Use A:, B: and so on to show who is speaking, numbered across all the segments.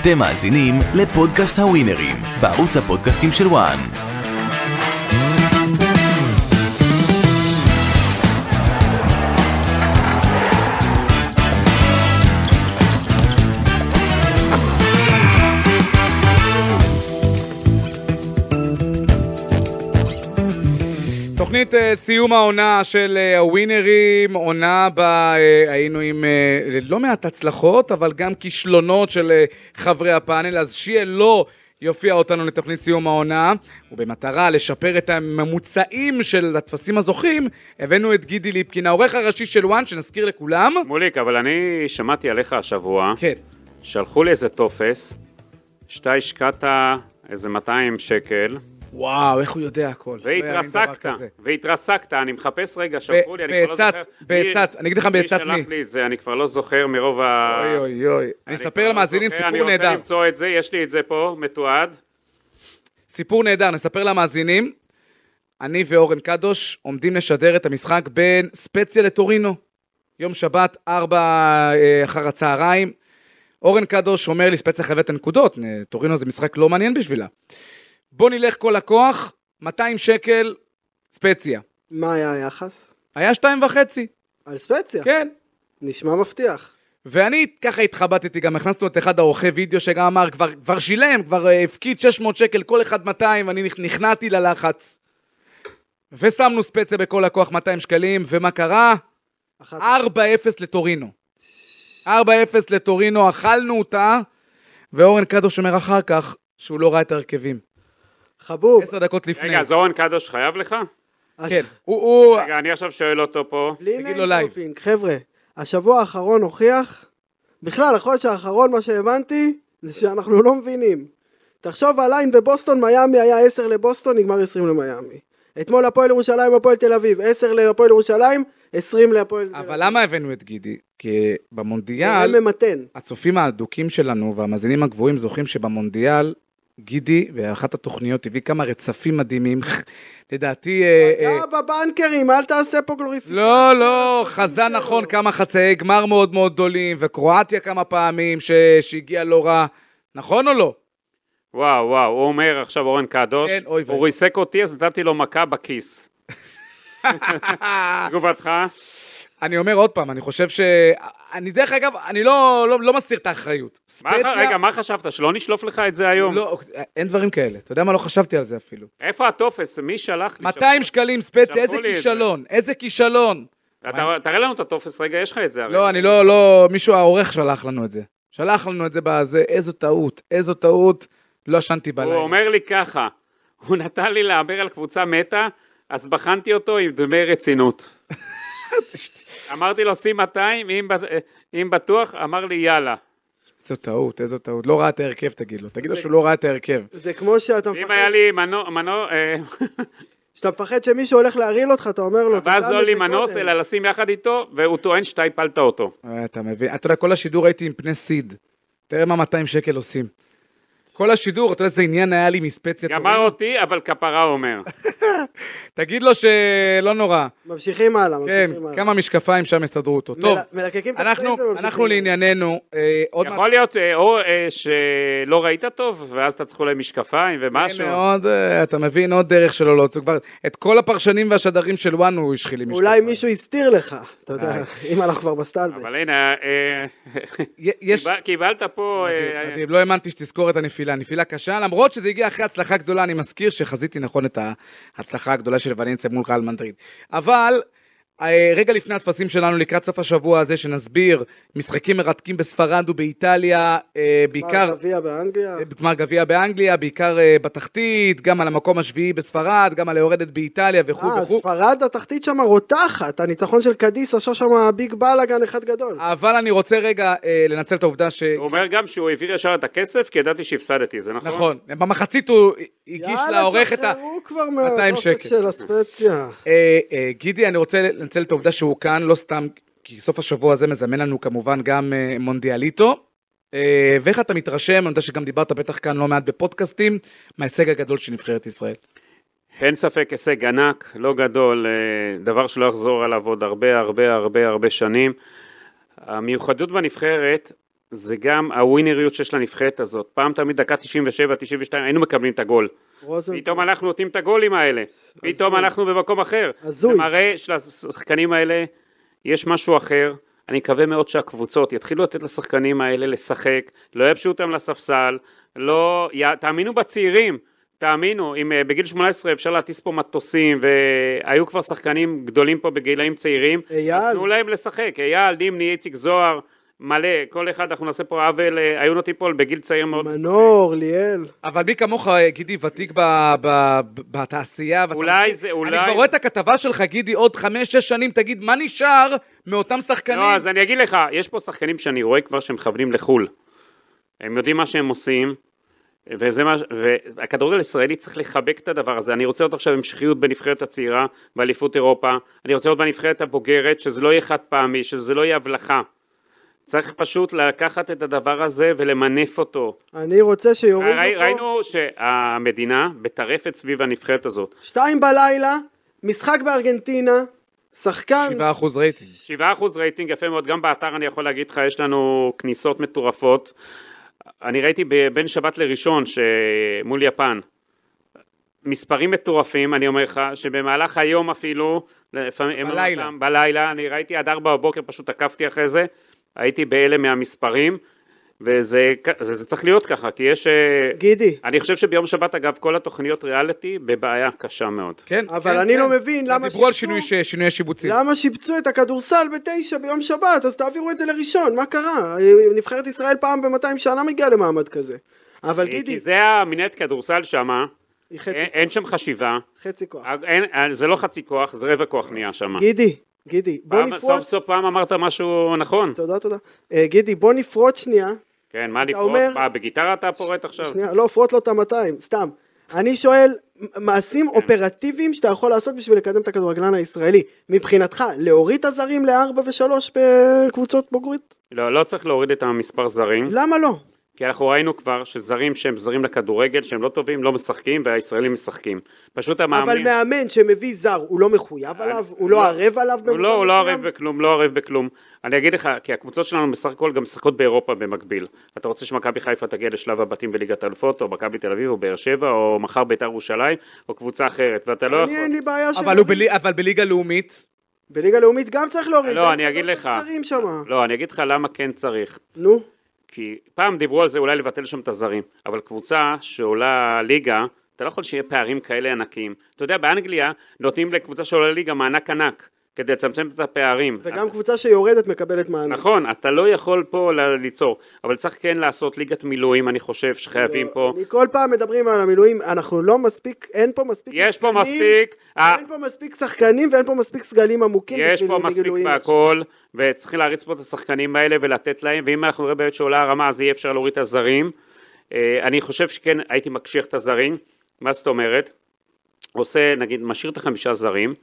A: אתם מאזינים לפודקאסט הווינרים, בערוץ הפודקאסטים של וואן.
B: תוכנית אה, סיום העונה של אה, הווינרים, עונה בה אה, היינו עם אה, לא מעט הצלחות, אבל גם כישלונות של אה, חברי הפאנל, אז שיהיה לא יופיע אותנו לתוכנית סיום העונה, ובמטרה לשפר את הממוצעים של הטפסים הזוכים, הבאנו את גידי ליפקין, העורך הראשי של וואן, שנזכיר לכולם.
C: מוליק, אבל אני שמעתי עליך השבוע,
B: כן.
C: שלחו לי איזה טופס, שאתה השקעת איזה 200 שקל,
B: וואו, איך הוא יודע הכל. לא יאמין דבר
C: והתרסקת,
B: כזה.
C: והתרסקת, אני מחפש רגע, שלחו לי, אני כבר לא זוכר.
B: בעצת, בעצת, אני אגיד לך בעצת מי.
C: שלח לי את זה, אני כבר לא זוכר מרוב ה...
B: אוי אוי אוי. אני
C: כבר
B: אספר
C: לא
B: למאזינים
C: זוכר,
B: סיפור
C: אני רוצה
B: נהדר.
C: למצוא את זה, יש לי את זה פה, מתועד.
B: סיפור נהדר, נספר למאזינים. אני ואורן קדוש עומדים לשדר את המשחק בין ספציה לטורינו. יום שבת, ארבע אה, אחר הצהריים. אורן קדוש אומר לי, ספציה חייבת את הנקודות, אה, טורינו זה משחק לא מעניין בשבילה. בוא נלך כל הכוח, 200 שקל, ספציה.
D: מה היה היחס?
B: היה שתיים וחצי,
D: על ספציה.
B: כן.
D: נשמע מבטיח.
B: ואני ככה התחבטתי, גם הכנסנו את אחד העורכי וידאו שגם אמר, כבר, כבר שילם, כבר אה, הפקיד 600 שקל, כל אחד 200, ואני נכ- נכנעתי ללחץ. ושמנו ספציה בכל הכוח 200 שקלים, ומה קרה? 4-0
D: אחת.
B: לטורינו. 4-0 לטורינו, אכלנו אותה, ואורן קדוש אומר אחר כך שהוא לא ראה את ההרכבים.
D: חבוב.
B: עשר דקות לפני.
C: רגע, אז אורן קדוש חייב לך?
D: הש-
B: כן, הוא, הוא...
C: רגע, אני עכשיו שואל אותו פה.
D: בלי
B: תגיד
D: name
B: לו לייב.
D: dropping, חבר'ה, השבוע האחרון הוכיח, בכלל, החודש האחרון, מה שהבנתי, זה שאנחנו לא מבינים. תחשוב הליין בבוסטון, מיאמי היה 10 לבוסטון, נגמר 20 למיאמי. אתמול הפועל ירושלים, הפועל תל אביב, 10 להפועל ירושלים, 20 להפועל תל אביב.
B: אבל למה הבאנו את גידי? כי במונדיאל...
D: יאל. ממתן.
B: הצופים האדוקים שלנו והמאזינים הגבוהים זוכרים שבמונדיאל, גידי באחת התוכניות הביא כמה רצפים מדהימים. לדעתי... אה, אה,
D: אה, בבנקרים, אל תעשה פה גלוריפיקציה.
B: לא, לא, חזן נכון, כמה חצאי גמר מאוד מאוד גדולים, וקרואטיה כמה פעמים ש- שהגיעה לא רע. נכון או לא?
C: וואו, וואו, הוא אומר עכשיו אורן קדוש,
B: כן, אוי ואבוי.
C: הוא ריסק אותי, אז נתתי לו מכה בכיס. תגובתך?
B: אני אומר עוד פעם, אני חושב ש... אני דרך אגב, אני לא, לא, לא מסיר את האחריות.
C: מה- רגע, מה חשבת, שלא נשלוף לך את זה היום?
B: לא, אין דברים כאלה. אתה יודע מה? לא חשבתי על זה אפילו.
C: איפה הטופס? מי שלח לי?
B: 200 שקלים ספציה,
C: שלחו
B: איזה
C: לי את זה.
B: כישלון, איזה כישלון.
C: אתה- תראה לנו את הטופס, רגע, יש לך את זה הרי.
B: לא, אני לא, לא, מישהו, העורך שלח לנו את זה. שלח לנו את זה בזה, איזו טעות, איזו טעות, לא ישנתי
C: הוא
B: בלילה.
C: אומר לי ככה, הוא נתן לי להמר על קבוצה מתה, אז בחנתי אותו עם דמי רצינות. אמרתי לו, שים 200, אם בט- אם בטוח, אמר לי, יאללה.
B: איזו טעות, איזו טעות, לא ראה את ההרכב, תגיד לו. תגיד לו שהוא לא ראה את ההרכב.
D: זה כמו שאתה
C: אם
D: מפחד,
C: היה לי מנו- מנו... אה,
D: שאתה מפחד שמישהו הולך להרעיל אותך, אתה אומר
C: ואז
D: לו, "תטעם
C: לא
D: את זה
C: להימנוס,
D: קודם".
C: אלא לשים יחד איתו, והוא טוען שאתה הפלת אותו.
B: אה, אתה מבין? אתה יודע, כל השידור הייתי עם פני סיד. תראה מה 200 שקל עושים. כל השידור, אתה יודע איזה עניין היה לי מספציה
C: גמר
B: טובה.
C: אותי, אבל כפרה אומר.
B: תגיד לו שלא נורא.
D: ממשיכים הלאה,
B: כן,
D: ממשיכים הלאה.
B: כמה משקפיים שם יסדרו אותו.
D: מל-
B: טוב,
D: מלקקים את
B: אנחנו-
D: הפנים וממשיכים
B: אנחנו
D: הלאה.
B: לענייננו. אה, עוד מעט
C: יכול להיות אה, או אה, שלא ראית טוב, ואז אתה צריך אולי משקפיים ומשהו.
B: כן, מאוד, אה, אתה מבין עוד דרך שלו להוציא כבר, את כל הפרשנים והשדרים של וואן הוא השחיל עם
D: אולי
B: משקפיים.
D: מישהו הסתיר לך, אתה יודע,
B: אה.
D: אם אנחנו כבר בסטלבט.
C: אבל הנה, אה,
B: י- יש...
C: קיבל- קיבלת פה...
B: מדהים,
C: אה,
B: מדהים, לא האמנתי שתזכור את הנפילה, נפילה קשה, למרות שזה הגיע אחרי הצלחה גדולה, אני מזכיר שחזיתי נכון את ההצלחה הגדולה של ולנסיה מול קהל מנדריד. אבל, אה, רגע לפני הטפסים שלנו, לקראת סוף השבוע הזה, שנסביר, משחקים מרתקים בספרד ובאיטליה, אה, בעיקר... אה,
D: גמר גביע באנגליה,
B: גמר גביע באנגליה, בעיקר אה, בתחתית, גם על המקום השביעי בספרד, גם על היורדת באיטליה וכו'
D: אה,
B: וכו'.
D: ספרד התחתית שם רותחת, הניצחון של קדיס עשה שם ביג בלאגן אחד גדול.
B: אבל אני רוצה רגע אה, לנצל את העובדה ש...
C: הוא אומר גם שהוא העביר ישר את הכסף, כי ידעתי שהפסדתי, זה נכון?
B: נכון, במחצית הוא הגיש לעורך את ה...
D: יאללה, תשחררו כבר
B: 200
D: מהטופס
B: שקל.
D: של הספציה.
B: אה, אה, גידי, אני רוצה לנצל את העובדה שהוא כאן, לא סתם, כי סוף השבוע הזה מזמן לנו כמובן גם אה, מונדיאליטו. אה, ואיך אתה מתרשם, אני יודע שגם דיברת בטח כאן לא מעט בפודקאסטים, מההישג הגדול של נבחרת ישראל. נכון.
C: אין ספק הישג ענק, לא גדול, אה, דבר שלא אחזור עליו עוד הרבה הרבה הרבה הרבה שנים. המיוחדות בנבחרת זה גם הווינריות שיש לנבחרת הזאת. פעם תמיד דקה 97, 92, היינו מקבלים את הגול.
D: רוזן,
C: פתאום אנחנו נותנים את הגולים האלה. פתאום
D: הזוי.
C: אנחנו במקום אחר.
D: הזוי.
C: זה מראה שלשחקנים האלה יש משהו אחר. אני מקווה מאוד שהקבוצות יתחילו לתת לשחקנים האלה לשחק, לא ייבשו אותם לספסל, לא... י... תאמינו בצעירים, תאמינו, אם אה, בגיל 18 אפשר להטיס פה מטוסים, והיו כבר שחקנים גדולים פה בגילאים צעירים,
D: אייל.
C: אז תנו להם לשחק. אייל, דימני, איציק זוהר, מלא, כל אחד, אנחנו נעשה פה עוול, אה, היו נותנים פה בגיל צעיר מאוד.
D: מנור, ליאל.
B: אבל מי כמוך, אה, גידי, ותיק ב- ב- ב- בתעשייה. ואתה-
C: אולי זה- אולי-
B: אני כבר רואה את הכתבה שלך, גידי, עוד חמש-שש שנים, תגיד, מה נשאר מאותם שחקנים?
C: לא, אז אני אגיד לך, יש פה שחקנים שאני רואה כבר שהם מכוונים לחו"ל. הם יודעים מה שהם עושים, וזה מה, ש- והכדורגל הישראלי צריך לחבק את הדבר הזה. אני רוצה לראות עכשיו המשכיות בנבחרת הצעירה, באליפות אירופה. אני רוצה לראות בנבחרת הבוגרת, שזה לא יהיה חד פעמי, שזה לא יהיה הבלחה. צריך פשוט לקחת את הדבר הזה ולמנף אותו.
D: אני רוצה שיורידו
C: ראי-
D: פה.
C: ראינו שהמדינה מטרפת סביב הנבחרת הזאת.
D: שתיים בלילה, משחק בארגנטינה, שחקן,
B: שבעה אחוז רייטינג.
C: 7% רייטינג יפה מאוד, גם באתר אני יכול להגיד לך, יש לנו כניסות מטורפות. אני ראיתי ב- בין שבת לראשון ש- מול יפן. מספרים מטורפים, אני אומר לך, שבמהלך היום אפילו, לפעמים, הם אמרו
B: בלילה.
C: אותם, בלילה, אני ראיתי עד ארבע בבוקר, פשוט עקבתי אחרי זה, הייתי בהלם מהמספרים, וזה זה צריך להיות ככה, כי יש... אה,
D: גידי.
C: אני חושב שביום שבת, אגב, כל התוכניות ריאליטי בבעיה קשה מאוד.
B: כן,
D: אבל
B: כן,
D: אני
B: כן.
D: לא מבין למה
B: דיברו על
D: שיפצו-
B: שינוי ש- שינויי שיבוצים.
D: למה שיבצו את הכדורסל בתשע ביום שבת? אז תעבירו את זה לראשון, מה קרה? אה, נבחרת ישראל פעם ב-200 שנה מגיעה למעמד כזה. אבל גידי,
C: אה, כי זה אה, המנהלת כדורסל שמה,
D: היא חצי,
C: אין אין שם חשיבה,
D: חצי כוח.
C: אין, אין, זה לא חצי כוח, זה רבע כוח נהיה שם.
D: גידי, גידי, בוא
C: פעם- סוף
D: נפרוץ,
C: סוף פעם אמרת משהו נכון.
D: תודה תודה. אה, גידי, בוא נפרוץ שנייה,
C: כן, מה לפרוט?
D: אומר-
C: מה, בגיטרה אתה פורט עכשיו?
D: שנייה, לא, פרוץ לו את ה-200, סתם. אני שואל, מ- מעשים
C: כן.
D: אופרטיביים שאתה יכול לעשות בשביל לקדם את הכדורגלן הישראלי, מבחינתך, להוריד את הזרים לארבע ושלוש בקבוצות בוגרית?
C: לא, לא צריך להוריד את המספר זרים,
D: למה לא?
C: כי אנחנו ראינו כבר שזרים שהם זרים לכדורגל, שהם לא טובים, לא משחקים, והישראלים משחקים. פשוט
D: אבל
C: המאמנים...
D: מאמן שמביא זר, הוא לא מחויב עליו? הוא לא ערב עליו
C: הוא
D: במובן
C: לא, הוא לא
D: מסוים?
C: ערב בכלום, לא ערב בכלום. אני אגיד לך, כי הקבוצות שלנו בסך הכל גם משחקות באירופה במקביל. אתה רוצה שמכבי חיפה תגיע לשלב הבתים בליגת האלופות, או מכבי תל אביב, או באר שבע, או מחר ביתר ירושלים, או קבוצה אחרת, ואתה לא
D: אני
C: יכול...
D: אין לי בעיה
B: אבל הוא בלי- אבל בליגה לאומית,
D: בליגה לאומית גם צריך להוריד.
C: לא,
D: גם
C: אני אגיד
D: לא צריך
C: לך.
D: זרים שמה.
C: לא, אני אגיד לך למה כן צריך.
D: נו,
C: כי פעם דיברו על זה אולי לבטל שם את הזרים, אבל קבוצה שעולה ליגה, אתה לא יכול שיהיה פערים כאלה ענקיים. אתה יודע, באנגליה נותנים לקבוצה שעולה ליגה מענק ענק, כדי לצמצם את הפערים.
D: וגם קבוצה שיורדת מקבלת מענק.
C: נכון, אתה לא יכול פה ל- ליצור, אבל צריך כן לעשות ליגת מילואים, אני חושב שחייבים פה.
D: לא, אני כל פעם מדברים על המילואים, אנחנו לא מספיק, אין פה מספיק
C: יש פה
D: שחקנים,
C: מספיק, אה,
D: אין פה מספיק שחקנים ואין פה מספיק סגלים עמוקים.
C: יש
D: כן, בשביל
C: פה
D: ליגה
C: מספיק
D: לאומית.
C: בהכל, וצריכים להריץ פה את השחקנים האלה ולתת להם, ואם אנחנו נראה באמת שעולה הרמה, אז יהיה אפשר להוריד את הזרים. אה, אני חושב שכן, הייתי מקשיח את הזרים. מה זאת אומרת? עושה, נגיד, משאיר את החמישה זרים,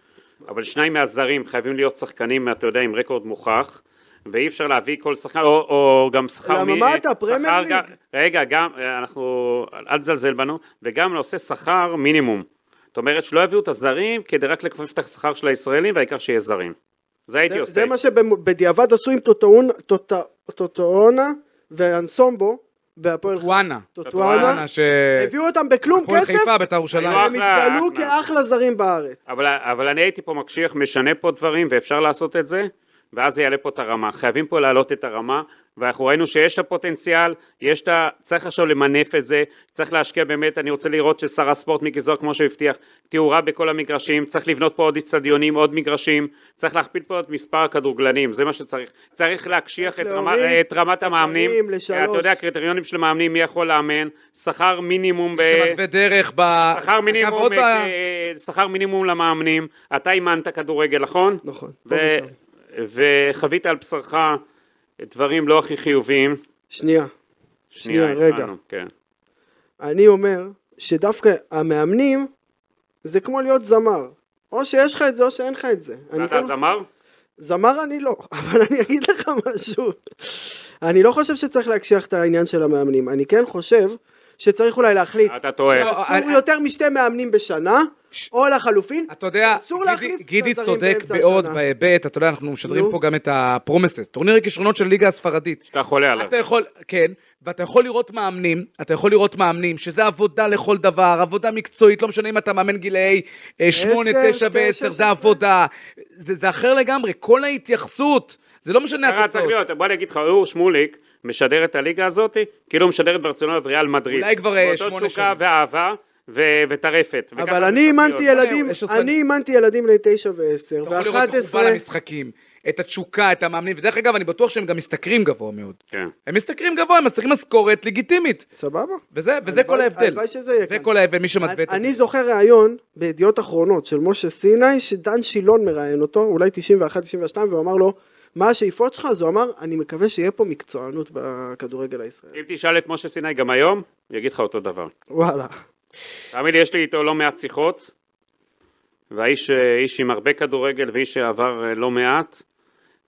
C: אבל שניים מהזרים חייבים להיות שחקנים, אתה יודע, עם רקורד מוכח. ואי אפשר להביא כל שחקן, או, או גם שכר
D: למה,
C: מ...
D: מה אתה, פרמייר
C: שכר
D: ליג?
C: גם- רגע, גם, אה, אנחנו, אל תזלזל בנו, וגם עושה שכר מינימום. זאת אומרת שלא יביאו את הזרים כדי רק לכופף את השכר של הישראלים, והעיקר שיהיה זרים. זה הייתי
D: זה,
C: עושה.
D: זה מה שבדיעבד עשו עם טוטאון- טוטא- טוטאונה ואנסומבו בהפועל חיפה.
B: וואנה.
D: טוטואנה.
B: וואנה, ש...
D: הביאו אותם בכלום
B: הפועל
D: כסף,
B: חיפה, ביתר ירושלים.
C: היו
D: הם התגלו
C: אחלה.
D: כאחלה זרים בארץ.
C: אבל, אבל אני הייתי פה מקשיח, משנה פה דברים, ואפשר לעשות את זה, ואז זה יעלה פה את הרמה. חייבים פה להעלות את הרמה, ואנחנו ראינו שיש את הפוטנציאל, יש את ה... צריך עכשיו למנף את זה, צריך להשקיע באמת, אני רוצה לראות ששר הספורט מיקי זוהר, כמו שהבטיח, תאורה בכל המגרשים, צריך לבנות פה עוד איצטדיונים, עוד מגרשים, צריך להכפיל פה את מספר הכדורגלנים, זה מה שצריך. צריך להקשיח את, רמה,
D: להוריד
C: את רמת המאמנים.
D: הזרים לשלוש.
C: אתה יודע, הקריטריונים של מאמנים, מי יכול לאמן, שכר מינימום. ב-
B: שמתווה דרך ב...
C: אה, שכר
B: אגב,
C: מינימום,
B: עוד ב-
C: אה, שכר מינימום למאמנים, אתה אימנת כדורגל, נכון?
D: נכון.
C: ו- וחווית על בשרך דברים לא הכי חיוביים.
D: שנייה. שנייה, רגע.
C: הבנו, כן.
D: אני אומר שדווקא המאמנים זה כמו להיות זמר. או שיש לך את זה או שאין לך את זה. אני
C: אתה
D: כן-
C: זמר?
D: זמר אני לא, אבל אני אגיד לך משהו. אני לא חושב שצריך להקשיח את העניין של המאמנים. אני כן חושב שצריך אולי להחליט.
C: אתה טועה.
B: לא,
D: אסור יותר משתי מאמנים בשנה, או לחלופין,
B: אתה יודע,
D: אסור
B: גידי-
D: להחליף את
B: גידי
D: הזרים
B: צודק
D: באמצע
B: בעוד
D: השנה.
B: בהיבט, אתה יודע, אנחנו משדרים
D: נו.
B: פה גם את הפרומסס, טורניר הכישרונות של ליגה הספרדית.
C: שאתה חולה עליו.
B: אתה יכול, כן, ואתה יכול לראות מאמנים, אתה יכול לראות מאמנים, שזה עבודה לכל דבר, עבודה מקצועית, לא משנה אם אתה מאמן אה, גילאי 8,
D: עשר,
B: 9 ו-10,
D: שתים
B: זה
D: עשרה.
B: עבודה, זה זה אחר לגמרי, כל ההתייחסות, זה לא משנה
C: ככה אה, צריך
B: התוצאות.
C: להיות, בוא אני אגיד לך, אור שמוליק משדר את הליגה הזאת, כאילו משדר את ברצלונה וריאל מדריד.
B: אולי כבר, אה, שמונה
C: באותו תשוקה
B: שנים.
C: ואהבה ו- וטרפת. וככה
D: אבל
C: זה
D: אני
C: צריך
D: אימנתי
C: להיות.
D: ילדים,
B: יש עשרה-
D: אני אימנתי ילדים לתשע ועשר,
B: אתה יכול לראות
D: ואחת
B: את חורבן
D: עשרה,
B: המשחקים, את התשוקה, את המאמנים, ודרך אגב, אני בטוח שהם גם משתכרים גבוה מאוד.
C: כן.
B: הם משתכרים גבוה, הם משתכרים משכורת לגיטימית.
D: סבבה?
B: וזה, וזה כל ההבדל.
D: הלוואי שזה יהיה
B: זה
D: כאן.
B: כל ההבדל, מי שמתווה את
D: אני זוכר ראיון בידיעות אחרונות של משה סיני, שדן שילון מראיין אותו, אולי 91-92, והוא אמר לו, מה השאיפות שלך? אז הוא אמר, אני מקווה שיהיה פה מקצוענות בכדורגל הישראלי.
C: אם תשאל את משה סיני גם היום, הוא יגיד לך אותו דבר.
D: וואלה.
C: תאמין לי, יש לי איתו לא מעט שיחות, והאיש אה, איש עם הרבה כדורגל ואיש שעבר אה, לא מעט,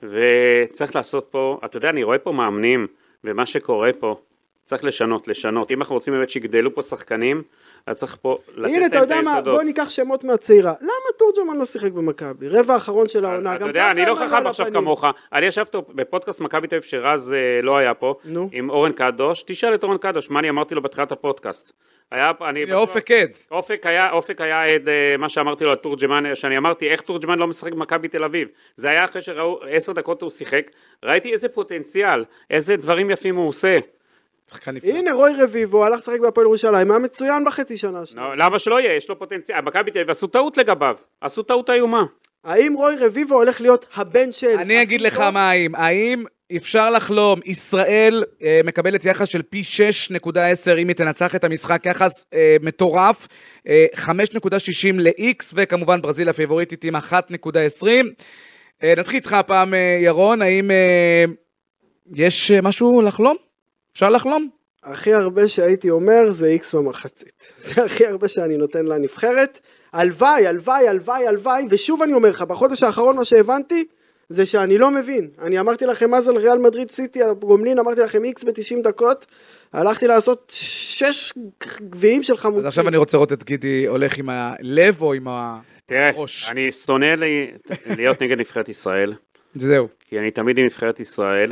C: וצריך לעשות פה, אתה יודע, אני רואה פה מאמנים, ומה שקורה פה, צריך לשנות, לשנות. אם אנחנו רוצים באמת שיגדלו פה שחקנים, אז צריך פה לתת
D: הנה,
C: להם את
D: אתה יודע מה,
C: היסודות.
D: בוא ניקח שמות מהצעירה. למה תורג'מן לא שיחק במכבי? רבע האחרון של העונה,
C: אתה
D: גם
C: יודע, אני
D: ככה
C: לא
D: הם היו
C: חכם
D: על
C: עכשיו
D: הפנים.
C: כמוך. אני ישבתי בפודקאסט מכבי תל אביב שרז אה, לא היה פה,
D: נו.
C: עם אורן קדוש. תשאל את אורן קדוש, מה אני אמרתי לו בתחילת הפודקאסט. היה, אני...
B: זה. אופק עד.
C: אופק היה, אופק היה עד אה, מה שאמרתי לו על תורג'מן, שאני אמרתי איך תורג'מן לא משחק במכבי תל אביב. זה היה אחרי שראו עשר דקות הוא שיחק, ראיתי איזה פוטנציאל, איזה דברים יפים הוא עושה.
B: שחקן נפלא.
D: הנה, רוי רביבו הלך לשחק בהפועל ירושלים, היה מצוין בחצי שנה
C: נו,
D: השנייה.
C: למה שלא יהיה? יש לו פוטנציאל. מכבי תל אביב עשו טעות לגביו, עשו טעות איומה.
D: האם רוי רביבו הולך להיות הבן של...
B: אני אגיד לך
D: אביטון?
B: מה האם. האם אפשר לחלום, ישראל אה, מקבלת יחס של פי 6.10 אם היא תנצח את המשחק, יחס אה, מטורף, אה, 5.60 ל-X, וכמובן ברזיל הפיבוריטית עם 1.20. אה, נתחיל איתך הפעם, אה, ירון, האם אה, יש אה, משהו לחלום? אפשר לחלום?
D: הכי הרבה שהייתי אומר זה איקס במחצית. זה הכי הרבה שאני נותן לנבחרת. הלוואי, הלוואי, הלוואי, הלוואי, ושוב אני אומר לך, בחודש האחרון מה שהבנתי זה שאני לא מבין. אני אמרתי לכם אז על ריאל מדריד סיטי, הגומלין, אמרתי לכם איקס ב-90 דקות, הלכתי לעשות שש גביעים של חמוצים.
B: אז עכשיו אני רוצה לראות את גידי הולך עם הלב או עם ה...
C: תראה,
B: ראש.
C: אני שונא לי- להיות נגד נבחרת ישראל,
B: זהו.
C: כי אני תמיד עם נבחרת ישראל,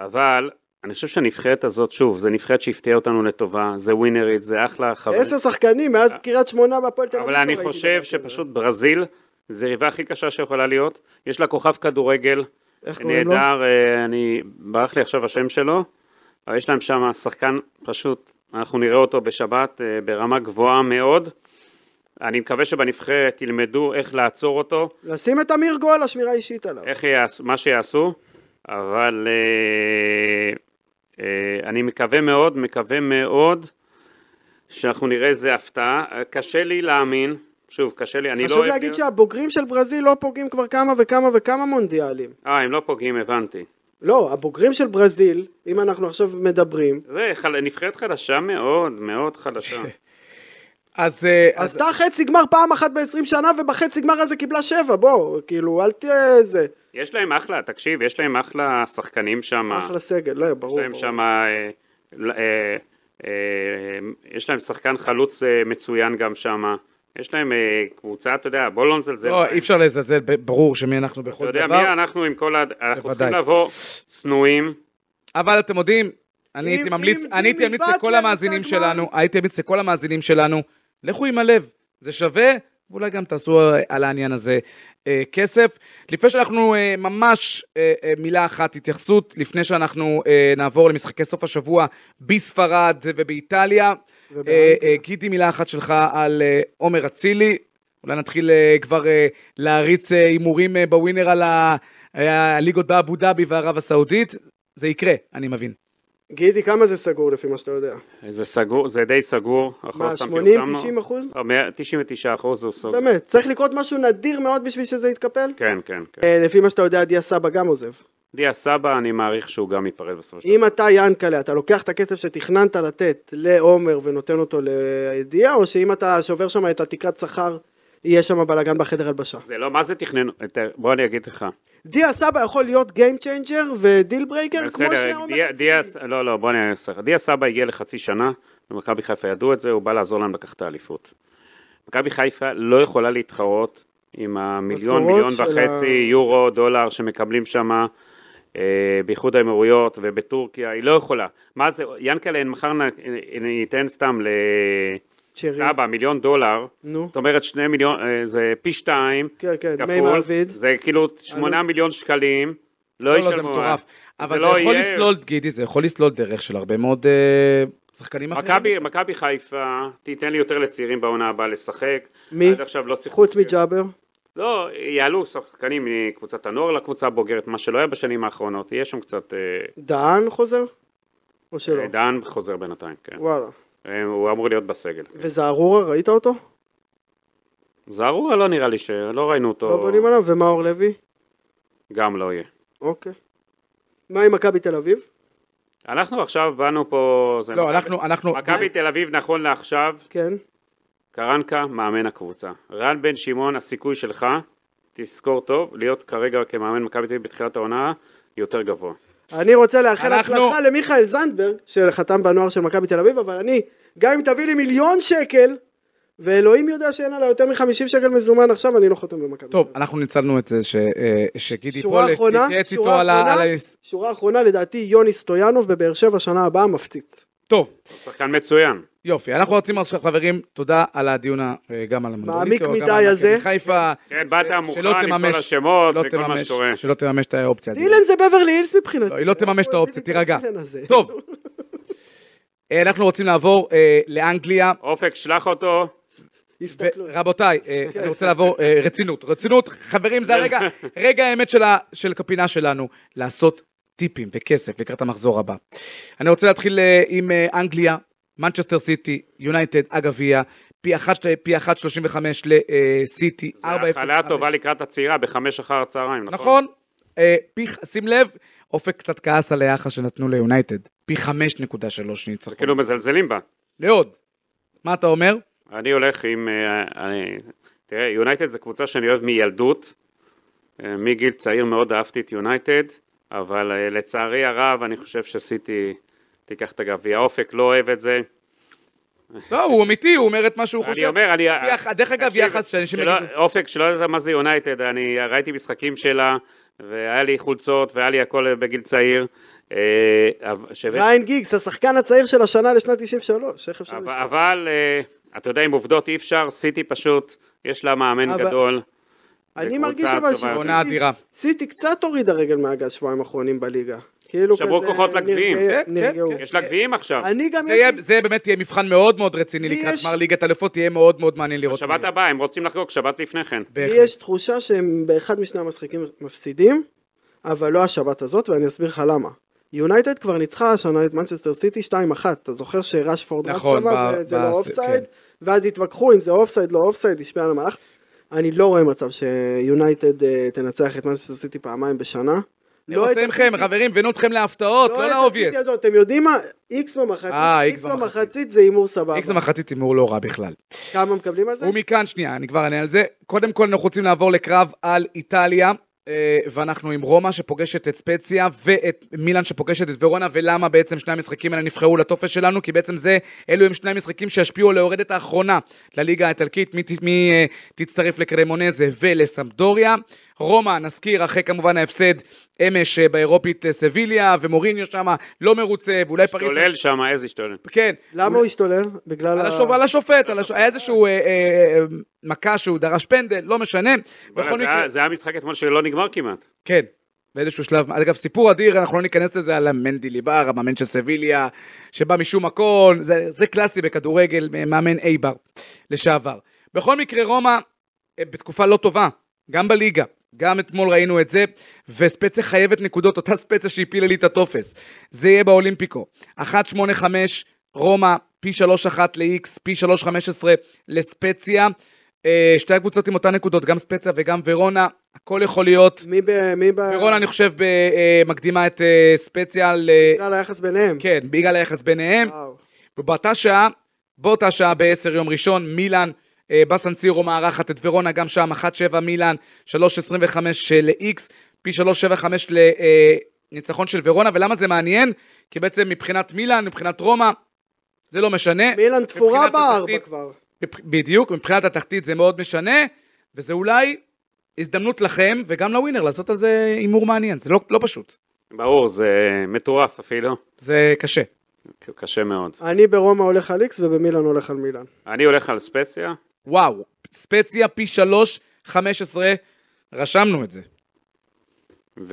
C: אבל אני חושב שהנבחרת הזאת, שוב, זו נבחרת שהפתיעה אותנו לטובה, זה ווינרית, זה אחלה חברים.
D: עשר שחקנים
B: אה.
D: מאז קריית שמונה בהפועל תל אביב.
C: אבל
D: לא
C: אני
D: ראיתי
C: חושב
D: דבר כזה.
C: שפשוט ברזיל זה היריבה הכי קשה שיכולה להיות. יש לה כוכב כדורגל,
D: איך קוראים לו?
C: נהדר, אה, אני, ברח לי עכשיו השם שלו, אבל יש להם שם שחקן פשוט, אנחנו נראה אותו בשבת אה, ברמה גבוהה מאוד. אני מקווה שבנבחרת ילמדו איך לעצור אותו,
D: לשים את אמיר גול, השמירה אישית עליו.
C: איך יעשו, מה שיעשו, אבל אה, אה, אני מקווה מאוד, מקווה מאוד שאנחנו נראה איזה הפתעה. אה, קשה לי להאמין, שוב, קשה לי, אני לא...
D: חשוב
C: אוהב
D: להגיד
C: להיות-
D: שהבוגרים של ברזיל לא פוגעים כבר כמה וכמה וכמה מונדיאלים.
C: אה, הם לא פוגעים, הבנתי.
D: לא, הבוגרים של ברזיל, אם אנחנו עכשיו מדברים,
C: זה חל... נבחרת חדשה מאוד, מאוד חדשה.
B: אז... אה, אז
D: עשתה חצי גמר פעם אחת ב-20 שנה, ובחצי גמר הזה קיבלה שבע, בוא, כאילו, אל תהיה זה.
C: יש להם אחלה, תקשיב, יש להם אחלה שחקנים שם.
D: אחלה סגל, לא,
C: יש
D: ברור.
C: להם
D: ברור.
C: שם... אה, לא, אה, אה, יש להם שחקן חלוץ אה, מצוין גם שם. יש להם אה, קבוצה, אתה יודע, בוא לא נזלזל.
B: לא,
C: בהם.
B: אי אפשר לזלזל, ב- ברור שמי אנחנו
C: אתה
B: בכל
C: יודע
B: דבר.
C: מי אנחנו עם כל ה... אנחנו
B: בוודאי.
C: צריכים לבוא צנועים.
B: אבל אתם יודעים, אני
D: אם-
B: הייתי ממליץ,
D: אם
B: אני הייתי
D: ג'ימי
B: ממליץ לכל
D: באטלר
B: המאזינים
D: יצא
B: שלנו,
D: גמר.
B: הייתי ממליץ לכל המאזינים שלנו, לכו עם הלב, זה שווה, ואולי גם תעשו אה, על העניין הזה אה, כסף. לפני שאנחנו אה, ממש, אה, אה, מילה אחת, התייחסות, לפני שאנחנו אה, נעבור למשחקי סוף השבוע בספרד ובאיטליה. אה, אה, גידי, מילה אחת שלך על אה, עומר אצילי. אולי נתחיל אה, כבר אה, להריץ אה, הימורים אה, בווינר על ה- אה, הליגות באבו דאבי וערב הסעודית. זה יקרה, אני מבין.
D: גידי, כמה זה סגור לפי מה שאתה יודע?
C: זה סגור, זה די סגור. אנחנו
D: מה,
C: לא סתם
D: 80-90
C: פרסמנו.
D: אחוז?
C: אה, מאה- 99 אחוז הוא סוגר.
D: באמת, צריך לקרות משהו נדיר מאוד בשביל שזה יתקפל?
C: כן, כן, כן.
D: אה, לפי מה שאתה יודע, דיה סבא גם עוזב.
C: דיה סבא, אני מעריך שהוא גם ייפרד בסופו של דבר.
D: אם אתה, ינקלה, אתה לוקח את הכסף שתכננת לתת לעומר ונותן אותו לידיעה, או שאם אתה שובר שם את התקרת שכר, יהיה שם בלאגן בחדר הלבשה?
C: זה לא, מה זה תכננו? תראה, בוא אני אגיד לך.
D: דיה סבא יכול להיות גיים צ'יינג'ר ודיל ברייקר, כן, כמו
C: בסדר,
D: שאומר
C: דיה-
D: אצילי.
C: דיה ס- לא, לא, בוא אני אעשה לך. דיה סבא הגיע לחצי שנה, במכבי חיפה ידעו את זה, הוא בא לעזור להם לקחת את האליפות. מכבי חיפה לא יכולה להתחרות עם המיליון,
D: משכורות
C: מיליון
D: של
C: וחצי
D: ה-
C: יורו, דולר שמקבלים שם אה, באיחוד האמירויות ובטורקיה, היא לא יכולה. מה זה, ינקלה, מחר נ- נ- ניתן סתם
D: צ'רי.
C: לסבא מיליון דולר,
D: נו.
C: זאת אומרת שני מיליון, אה, זה פי שתיים,
D: כן, כן, דמי
C: כפול,
D: מעביד.
C: זה כאילו שמונה מיליון שקלים, לא
B: לא, לא, זה
C: ישלמו.
B: מטורף. אבל זה
C: לא
B: יכול
C: יהיה.
B: לסלול, גידי, זה יכול לסלול דרך של הרבה מאוד אה, שחקנים אחרים.
C: מכבי- מכבי חיפה, תיתן לי יותר לצעירים בעונה הבאה לשחק.
D: מי?
C: עד עכשיו לא שיחקו.
D: חוץ
C: צעירים.
D: מג'אבר.
C: לא, יעלו שחקנים מקבוצת הנוער לקבוצה הבוגרת, מה שלא היה בשנים האחרונות. יהיה שם קצת... אה,
D: דהן חוזר? או שלא?
C: אה, דן חוזר בינתיים, כן.
D: וואלה.
C: אה, הוא אמור להיות בסגל.
D: וזערורה, ראית אותו?
C: זערורה לא נראה לי ש... לא ראינו
D: לא
C: אותו.
D: בונים עליו? ומאור לוי?
C: גם לא יהיה.
D: אוקיי. מה עם מכבי תל אביב?
C: אנחנו עכשיו באנו פה... זה
B: לא,
C: מכבי-
B: אנחנו, אנחנו,
C: מכבי תל אביב נכון לעכשיו,
D: כן.
C: קרנקה, מאמן הקבוצה. רן בן שמעון, הסיכוי שלך, תזכור טוב, להיות כרגע כמאמן מכבי תל אביב בתחילת העונה, יותר גבוה.
D: אני רוצה לאחל
B: אנחנו-
D: הצלחה למיכאל זנדברג, שחתם בנוער של מכבי תל אביב, אבל אני, גם אם תביא לי מיליון שקל, ואלוהים יודע שאין עליו יותר מ-50 שקל מזומן עכשיו, אני לא חותם במכבי.
B: טוב,
D: תל
B: אנחנו ניצלנו את זה ש- אה, שגידי
D: אביב.
B: פה,
D: שורה אחרונה,
B: להתייעץ איתו
D: שורה
B: על ה... על
D: אחרונה,
B: ה-
D: שורה אחרונה, לדעתי יוני סטויאנוב בבאר שבע שנה הבאה מפציץ.
B: טוב,
C: שחקן מצוין.
B: יופי, אנחנו רוצים עכשיו חברים, תודה על הדיון ה- אה, גם על המנדוליטו,
D: מעמיק
B: גם על
D: מדי
B: מכבי
D: הזה.
B: חיפה,
C: כן,
B: ש-
C: באת
B: שלא
C: מוכן עם כל
B: תממש-
C: השמות
B: שלא
C: וכל מה
B: תממש-
C: שקורה.
B: שלא תממש את האופציה. הזאת.
D: אילן זה בברלי הילס מבחינתי.
B: לא, היא לא תממש את האופציה, תירגע.
D: אילן הזה.
B: טוב, אה, אנחנו רוצים לעבור אה, לאנגליה.
C: אופק, שלח אותו.
D: הסתכלות.
B: רבותיי, אה,
C: כן.
B: אני רוצה לעבור, אה, רצינות. רצינות, חברים, זה הרגע, רגע האמת של ה- של הפינה שלנו, לעשות טיפים וכסף לקראת המחזור הבא. אני רוצה להתחיל אה, עם אה, אנגליה, מנצ'סטר סיטי, יונייטד, הגביע, פי 1, פי 1.35 אה, לסיטי, 4.05.
C: זו החלה טובה לקראת הצעירה בחמש אחר הצהריים, נכון?
B: נכון. אה, פי, ח- שים לב, אופק קצת כעס על היחס שנתנו ליונייטד, פי 5.3 שניצחון.
C: כאילו מזלזלים בה.
B: לעוד. מה אתה אומר?
C: אני הולך עם... אה, אני- תראה, יונייטד זו קבוצה שאני אוהב מילדות. אה, מגיל צעיר מאוד אהבתי את יונייטד, אבל אה, לצערי הרב, אני חושב שסיטי תיקח את הגביע. אופק לא אוהב את זה.
B: לא, הוא אמיתי, הוא אומר את מה שהוא חושב.
C: אני אומר, אני...
B: יח- דרך אגב,
C: אה, תקשיב,
B: יחס שאנשים
C: שלא-
B: יגידו-
C: אופק, שלא יודעת מה זה יונייטד, אני ראיתי משחקים שלה, והיה לי חולצות, והיה לי הכל בגיל צעיר. אה, אבל- שווה-
D: ריין גיגס, השחקן הצעיר של השנה לשנת 93, איך אפשר
C: אבל-
D: לשכוח?
C: אבל, אה, אתה יודע, עם עובדות אי אפשר, סיטי פשוט, יש לה מאמן
D: אבל-
C: גדול.
D: אני
C: בקבוצה
D: מרגיש אבל
C: טובה.
D: שסיטי...
B: עונה אדירה.
D: סיטי קצת הוריד הרגל מהגז שבועיים האחרונים בליגה. כאילו כזה...
C: שברו כוחות לגביעים.
D: נרגע-
B: כן, כן,
D: נרגעו.
B: כן.
C: יש לה גביעים עכשיו.
D: אה, אני גם
B: זה,
D: יש
B: יהיה,
D: לי...
B: זה באמת יהיה מבחן מאוד מאוד רציני
D: לי
B: לקראת
D: יש-
B: גמר ליגת אלופות, יהיה מאוד מאוד מעניין לראות. מה
C: שבת
B: יהיה.
C: הבאה, הם רוצים לחגוג, שבת לפני כן.
B: בהחלט.
D: לי יש תחושה שהם באחד משני המשחקים מפסידים, אבל לא השבת הזאת, ואני אסביר לך למה. יונייטד כבר ניצחה השנה את מנצ'סטר סיטי 2-1, אתה זוכר שרשפורד רץ
B: נכון,
D: שמה,
B: ב-
D: זה- זה
B: ב-
D: לא
B: כן.
D: אופסייד, ואז התווכחו אם זה אופסייד, לא אופסייד, השפיע על המהלך. אני לא רואה מצב שיונייטד אה, תנצח את מנצ'סטר סיטי פעמיים בשנה.
B: אני
D: לא
B: רוצה אתכם, חברים, הבאנו אתכם להפתעות, לא לאובייס.
D: אתם יודעים מה? איקס במחצית,
B: אה,
D: איקס
B: איקס
D: במחצית זה הימור סבבה.
B: איקס המחצית הימור לא רע בכלל.
D: כמה מקבלים על זה?
B: ומכאן, שנייה, אני כבר אענה על זה. קודם כל, אנחנו רוצים לעבור לקרב על איטליה. אה, ואנחנו עם רומא שפוגשת את ספציה ואת מילאן שפוגשת את ורונה ולמה בעצם שני המשחקים האלה נבחרו לטופס שלנו כי בעצם זה, אלו הם שני המשחקים שישפיעו על היורדת האחרונה לליגה האיטלקית מי, ת- מי אה, תצטרף לקרמונזה ולסמפדוריה רומא נזכיר אחרי כמובן ההפסד אמש אה, באירופית אה, סביליה ומוריניו שמה לא מרוצה ואולי פריס...
C: השתולל שם, איזה השתולל.
B: כן.
D: למה הוא השתולל? בגלל
B: על השופט, על השופט, על השופט, היה איזשהו אה, אה, אה, מכה שהוא דרש פנדל, לא משנה.
C: וואלה,
B: בכל
C: זה
B: מקרה,
C: היה- זה היה משחק אתמול שלא נגמר כמעט.
B: כן, באיזשהו שלב, אגב, סיפור אדיר, אנחנו לא ניכנס לזה על המנדי ליבר, המאמן של סביליה, שבא משום מקום, זה, זה קלאסי בכדורגל, מאמן אייבר לשעבר. בכל מקרה, רומא אה, בתקופה לא טובה, גם בליגה. גם אתמול ראינו את זה, וספציה חייבת נקודות, אותה ספציה שהפילה לי את הטופס. זה יהיה באולימפיקו. 1.85, רומא, פי 3.1 ל-X, פי 3.15 לספציה. אה, שתי הקבוצות עם אותן נקודות, גם ספציה וגם ורונה, הכל יכול להיות.
D: מי ב... מי ב...
B: ורון, אני חושב, ב- אה, מקדימה את אה, ספציאל, אה,
D: בגלל היחס ביניהם.
B: כן, בגלל היחס ביניהם.
D: וואו.
B: ובאותה שעה, באותה שעה ב-10 יום ראשון, מילאן, אה, בסנסירו מארחת את ורונה, גם שם 1-7 מילאן, 3-25 אה, ל-X, פי 3-7-5 לניצחון אה, של ורונה, ולמה זה מעניין? כי בעצם מבחינת מילאן, מבחינת רומא, זה לא משנה.
D: מילאן תפורה
B: מבחינת
D: בארבע
B: התחתית-
D: כבר.
B: מבח- בדיוק, מבחינת התחתית זה מאוד משנה, וזה אולי הזדמנות לכם וגם לווינר לעשות על זה הימור מעניין, זה לא, לא פשוט,
C: ברור, זה מטורף אפילו.
B: זה קשה.
C: קשה מאוד.
D: אני ברומא הולך על איקס ובמילאן הולך על מילאן.
C: אני הולך על ספציה.
B: וואו, ספציה פי שלוש, חמש עשרה, רשמנו את זה.
C: ולא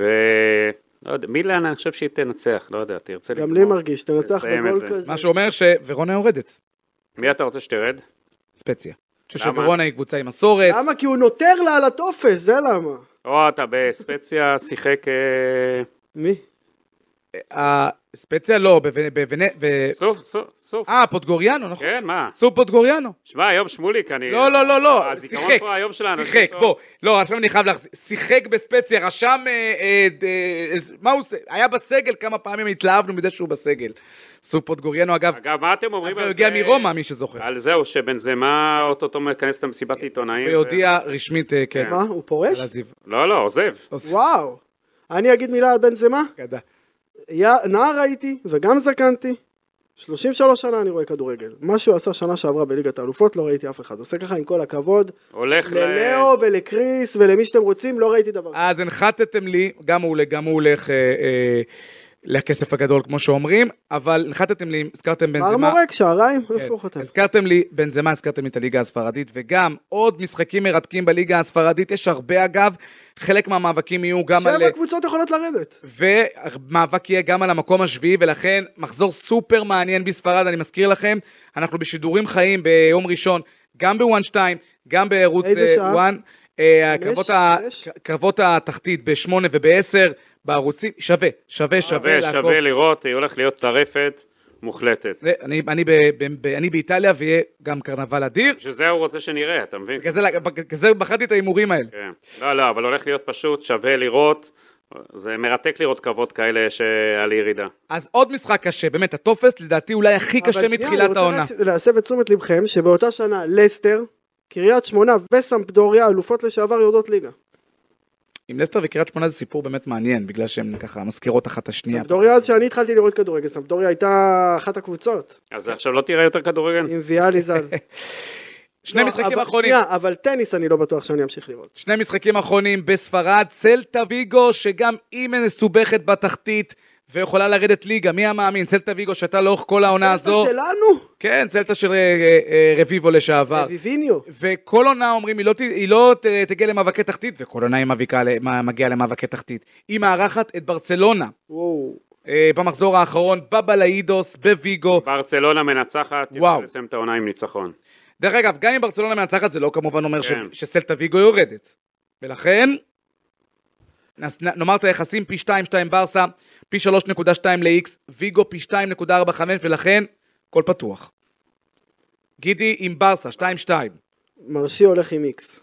C: לא יודע, מילאן אני חושב שהיא תנצח, לא יודע, תרצה
D: גם לי
C: לגמור.
D: מרגיש, תנצח
C: נסיים את
D: בגול
C: זה.
D: כזה.
B: מה שאומר ש... ורונה יורדת,
C: מי אתה רוצה שתרד?
B: ספציה. אני חושב
C: למה?
B: שוורונה היא קבוצה עם מסורת,
D: למה? כי הוא נותר לה על הטופס, זה למה.
C: או אתה בספציה שיחק אה,
D: מי?
B: אה, ספציה לא, בוונ- בוונ- ב-
C: סוף, סוף, סוף.
B: אה, פוטגוריאנו, נכון?
C: כן, מה?
B: סוף פוטגוריאנו.
C: שמע, היום שמולי כנראה.
B: לא, לא, לא, לא,
C: הזיכרון
B: שיחק,
C: פה היום שלנו.
B: שיחק,
C: טוב.
B: בוא, לא, עכשיו אני חייב להחזיר, שיחק בספציה, רשם, אה, אה, אה, אה, מה הוא עושה, היה בסגל כמה פעמים, התלהבנו מזה שהוא בסגל. סוף פוטגוריאנו, אגב,
C: אגב, אה, מה אתם אומרים
B: הוא
C: על זה?
B: הגיע מרומא, מי שזוכר,
C: על זהו, שבנזמה אוטוטו מכנס את המסיבת עיתונאים. ו-
B: אה, והודיע רשמית, אה, כן,
D: מה? הוא פורש?
B: על עזיב.
C: לא, לא, עוזב.
D: וואו. אני אגיד מילה על בן זמה?
B: אגדה.
D: יא- נער הייתי וגם זקנתי. 33 שנה אני רואה כדורגל. מה שהוא עשה שנה שעברה בליגת האלופות לא ראיתי אף אחד. עושה ככה עם כל הכבוד.
C: הולך ל...
D: ללאו ולקריס ולמי שאתם רוצים לא ראיתי דבר כזה.
B: אז הנחתתם לי, גם הוא, גם הוא הולך אה, אה, לכסף הגדול, כמו שאומרים, אבל הנחתתם לי, הזכרתם בן זמה, כן.
D: מרמורק, שעריים? איפה הוא חותם?
B: הזכרתם לי, בנזמה הזכרתם לי את הליגה הספרדית, וגם עוד משחקים מרתקים בליגה הספרדית, יש הרבה אגב, חלק מהמאבקים יהיו גם על... אה,
D: שבע קבוצות יכולות לרדת.
B: ומאבק יהיה גם על המקום השביעי, ולכן מחזור סופר מעניין בספרד, אני מזכיר לכם, אנחנו בשידורים חיים ביום ראשון, גם בוואן 2, גם בערוץ
D: איזה
B: אה,
D: שעה?
B: וואן. אה,
D: חמש?
B: הקרבות ה-
D: שש?
B: הקרבות התחתית בשמונה ובעשר, בערוצים, שווה, שווה, שווה
C: אה, שווה,
B: לעקוב.
C: שווה לראות, היא הולכת להיות טרפת מוחלטת.
B: זה- אני- אני ב- ב- ב- אני באיטליה ויהיה גם קרנבל אדיר.
C: בשביל זה הוא רוצה שנראה, אתה מבין?
B: בגלל זה- בגלל זה בחרתי את ההימורים האלה.
C: כן. לא, לא, אבל הולך להיות פשוט, שווה לראות. זה מרתק לראות קרבות כאלה שעל ירידה.
B: אז עוד משחק קשה, באמת, הטופס לדעתי אולי הכי
D: אבל
B: קשה
D: שנייה,
B: מתחילת העונה.
D: אני רוצה רק להסב את תשומת לבכם שבאותה שנה לסטר, קריית שמונה וסמפדוריה, אלופות לשעבר יורדות ליגה.
B: עם לסטר וקריית שמונה זה סיפור באמת מעניין, בגלל שהן ככה מזכירות אחת את השנייה.
D: סמפדוריה אז שאני התחלתי לראות כדורגל, סמפדוריה הייתה אחת הקבוצות,
C: אז
B: כן.
C: עכשיו לא תראה יותר כדורגל?
D: עם ויאלי ז"ל.
B: שני
D: לא,
B: משחקים
D: אבל-
B: אחרונים,
D: שנייה, אבל טניס אני לא בטוח שאני אמשיך לראות.
B: שני משחקים אחרונים בספרד, סלטה ויגו, שגם היא מסובכת בתחתית ויכולה לרדת ליגה, מי המאמין? סלטה ויגו שהייתה לאורך כל העונה הזו.
D: זה שלנו?
B: כן, סלטה של אה, אה, אה, רביבו לשעבר.
D: אביביניו.
B: וכל עונה אומרים, היא לא, ת- היא לא ת- תגיע למאבקי תחתית, וכל עונה היא מביקה ל- מה- מגיעה למאבקי תחתית. היא מארחת את ברצלונה
D: וואו.
B: אה, במחזור האחרון, בבלאידוס, בוויגו.
C: ברצלונה מנצחת,
B: וואו.
C: וואו. לסיים את העונה עם ניצחון.
B: דרך אגב, גם אם ברצלונה מנצחת, זה לא כמובן אומר ש...
C: כן.
B: שסלטה ויגו יורדת. ולכן, נס... נ- נאמר את היחסים פי 2.2 ברסה, פי 3.2 ל-X, ויגו פי 2.45, ולכן, הכל פתוח. גידי עם ברסה, 2.2.
D: מרשי הולך עם איקס.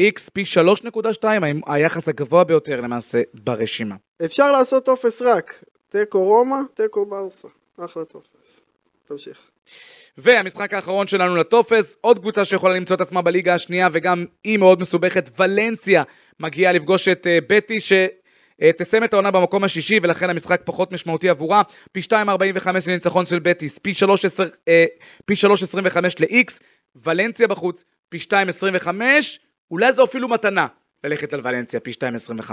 B: X פי 3.2, ה- היחס הגבוה ביותר למעשה ברשימה.
D: אפשר לעשות טופס רק, תיקו רומא, תיקו ברסה. אחלה טופס. תמשיך.
B: והמשחק האחרון שלנו לטופס, עוד קבוצה שיכולה למצוא את עצמה בליגה השנייה וגם היא מאוד מסובכת, ולנסיה מגיעה לפגוש את אה, בטי ש... אה, תסיים את העונה במקום השישי ולכן המשחק פחות משמעותי עבורה, פי 2.45 לניצחון של בטיס, פי 3.10, אה, פי 3.25 ל-X, ולנסיה בחוץ, פי 2.25, אולי זו אפילו מתנה ללכת על ולנסיה, פי 2.25.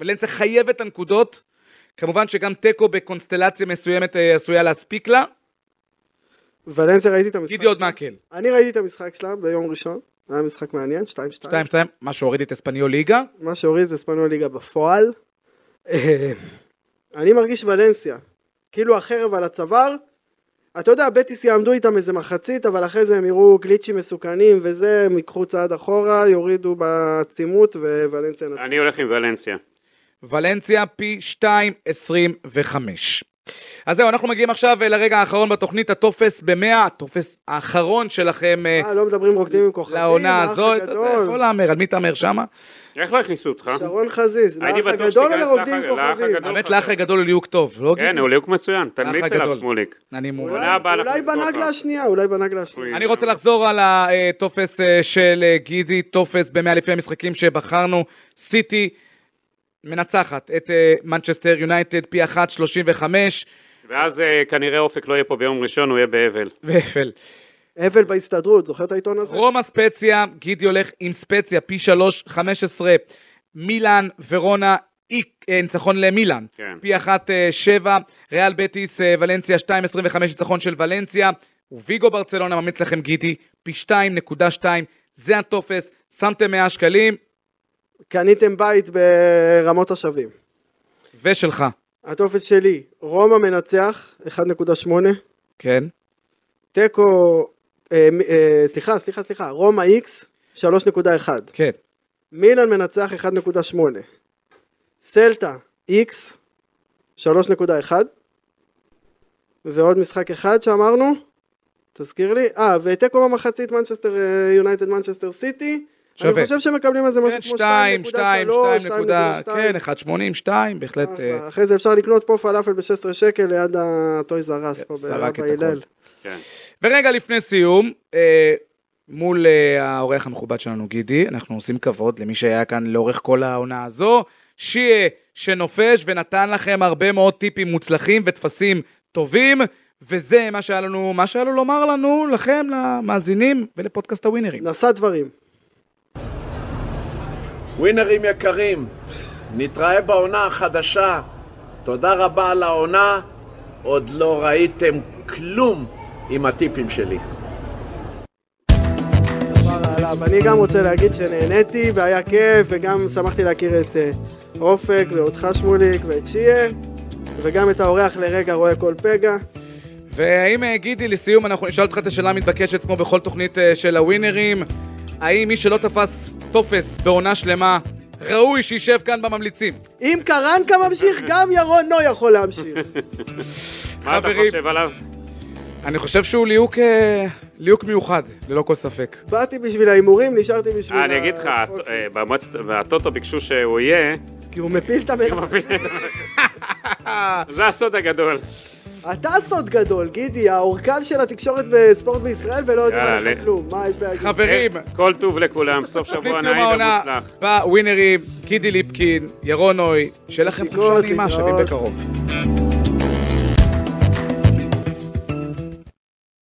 B: ולנסיה חייבת את הנקודות, כמובן שגם תיקו בקונסטלציה מסוימת אה, עשויה להספיק לה,
D: ולנסיה ראיתי את המשחק.
B: גידי עוד
D: שלה.
B: מהקל.
D: אני ראיתי את המשחק שלה ביום ראשון. היה משחק מעניין, 2-2.
B: 2-2, מה שהוריד את אספניול ליגה.
D: מה שהוריד את אספניול ליגה בפועל. אה, אני מרגיש ולנסיה. כאילו החרב על הצוואר. אתה יודע, בטיס יעמדו איתם איזה מחצית, אבל אחרי זה הם יראו גליצ'ים מסוכנים וזה, הם ייקחו צעד אחורה, יורידו בעצימות וולנסיה נצחה.
C: אני הולך עם ולנסיה.
B: ולנסיה פי 2.25. אז זהו, אנחנו מגיעים עכשיו אה, לרגע האחרון בתוכנית, הטופס ב-100, הטופס האחרון שלכם אה,
D: אה, לא מדברים רוקדים עם כוכבים,
B: לעונה
D: האח
B: הזו. אתה יודע, יכול
D: הגדול.
B: להמר, על מי תהמר שמה?
C: איך לא הכניסו אותך?
D: שרון חזיז,
C: הייתי
D: לאח
C: בטוח
D: הגדול או
C: שתיכנס
D: לרוקדים עם
C: לאח- לאח
D: כוכבים?
C: הגדול.
B: האמת, לאח הגדול הוא ליהוק טוב, לא
C: לא כן,
B: גיל?
C: הוא ליהוק מצוין, תמליץ עליו
B: הגדול.
C: שמוליק.
B: אני מעולה.
C: עונה הבאה
D: אולי
C: נכניס אותו.
D: בנגלה השנייה, אולי בנגלה השנייה.
B: אני רוצה לחזור על הטופס אה, של אה, גידי, טופס במאה לפי המשחקים שבחרנו, סיטי מנצחת את אה, מנצ'סטר יונייטד פי 1.35,
C: ואז אה, כנראה אופק לא יהיה פה ביום ראשון, הוא יהיה באבל.
B: ואפל.
D: אבל בהסתדרות, זוכר את העיתון הזה?
B: רומא ספציה, גידי הולך עם ספציה, פי 3, 15, מילאן, ורונה, איק, אה, ניצחון למילאן,
C: כן.
B: פי 1, 7, ריאל בטיס, אה, ולנסיה, 2, 25, ניצחון של ולנסיה, וויגו ברצלונה, ממליץ לכם גידי, פי 2.2, זה הטופס, שמתם 100 שקלים,
D: קניתם בית ברמות השבים.
B: ושלך,
D: הטופס שלי, רומא מנצח, 1.8,
B: כן?
D: תיקו, אה, מ- אה, סליחה, סליחה, סליחה, רומא איקס, 3.1,
B: כן.
D: מילן מנצח 1.8, סלטה איקס, 3.1, ועוד משחק אחד שאמרנו, תזכיר לי, אה, ותיקו במחצית מנצ'סטר אה, יונייטד מנצ'סטר סיטי,
B: שווה.
D: אני חושב שמקבלים על זה משהו
B: כן,
D: כמו
B: 2,
D: 2.3,
B: 2, 2,
D: 2.2,
B: כן, 1.80, 2, בהחלט. אה,
D: אחלה. אחרי זה אפשר לקנות פה פלאפל ב-16 שקל ליד הטויז הרס פה
B: זרק את
D: באבא
B: הכל.
D: הלל.
C: כן.
B: ורגע לפני סיום, אה, מול אה, האורח המכובד שלנו, גידי, אנחנו עושים כבוד למי שהיה כאן לאורך כל העונה הזו, שיה שנופש ונתן לכם הרבה מאוד טיפים מוצלחים וטפסים טובים, וזה מה שהיה לנו, מה שהיה לו לומר לנו, לכם, למאזינים ולפודקאסט הווינרים.
D: נשא דברים.
E: ווינרים יקרים, נתראה בעונה החדשה. תודה רבה על העונה. עוד לא ראיתם כלום עם הטיפים שלי.
D: דבר עליו. אני גם רוצה להגיד שנהניתי והיה כיף וגם שמחתי להכיר את אה, אופק ואותך שמוליק ואת שיה וגם את האורח לרגע רואה כל פגע.
B: ואם אה, גידי, לסיום, אנחנו נשאל אותך את השאלה המתבקשת כמו בכל תוכנית אה, של הווינרים, האם מי שלא תפס טופס בעונה שלמה, ראוי שישב כאן בממליצים?
D: אם קרנקה ממשיך גם ירון נו יכול להמשיך.
C: מה אתה
B: חברים.
C: חושב עליו?
B: אני חושב שהוא ליהוק, אה, ליהוק מיוחד, ללא כל ספק.
D: באתי בשביל ההימורים נשארתי בשביל...
C: אה, אני אגיד לך,
D: הצחוקים.
C: אה, במועצת- בטוטו ביקשו שהוא יהיה,
D: כי הוא מפיל את המלח.
C: זה הסוד הגדול.
D: אתה סוד גדול גידי האורכן של התקשורת בספורט בישראל ולא יודעים
C: Mm. יאללה,
D: עליך
C: ל-
D: כלום. מה יש להגיד?
B: חברים,
C: אה, כל טוב לכולם, סוף שבוע
B: תוכנית סיום
C: נעים
B: העונה
C: ומוצלח.
B: בווינרים, קידי ליפקין, ירון נוי, שיהיה לכם חופשה
D: נשיקות,
B: נעימה שווים
D: להתראות.
B: בקרוב.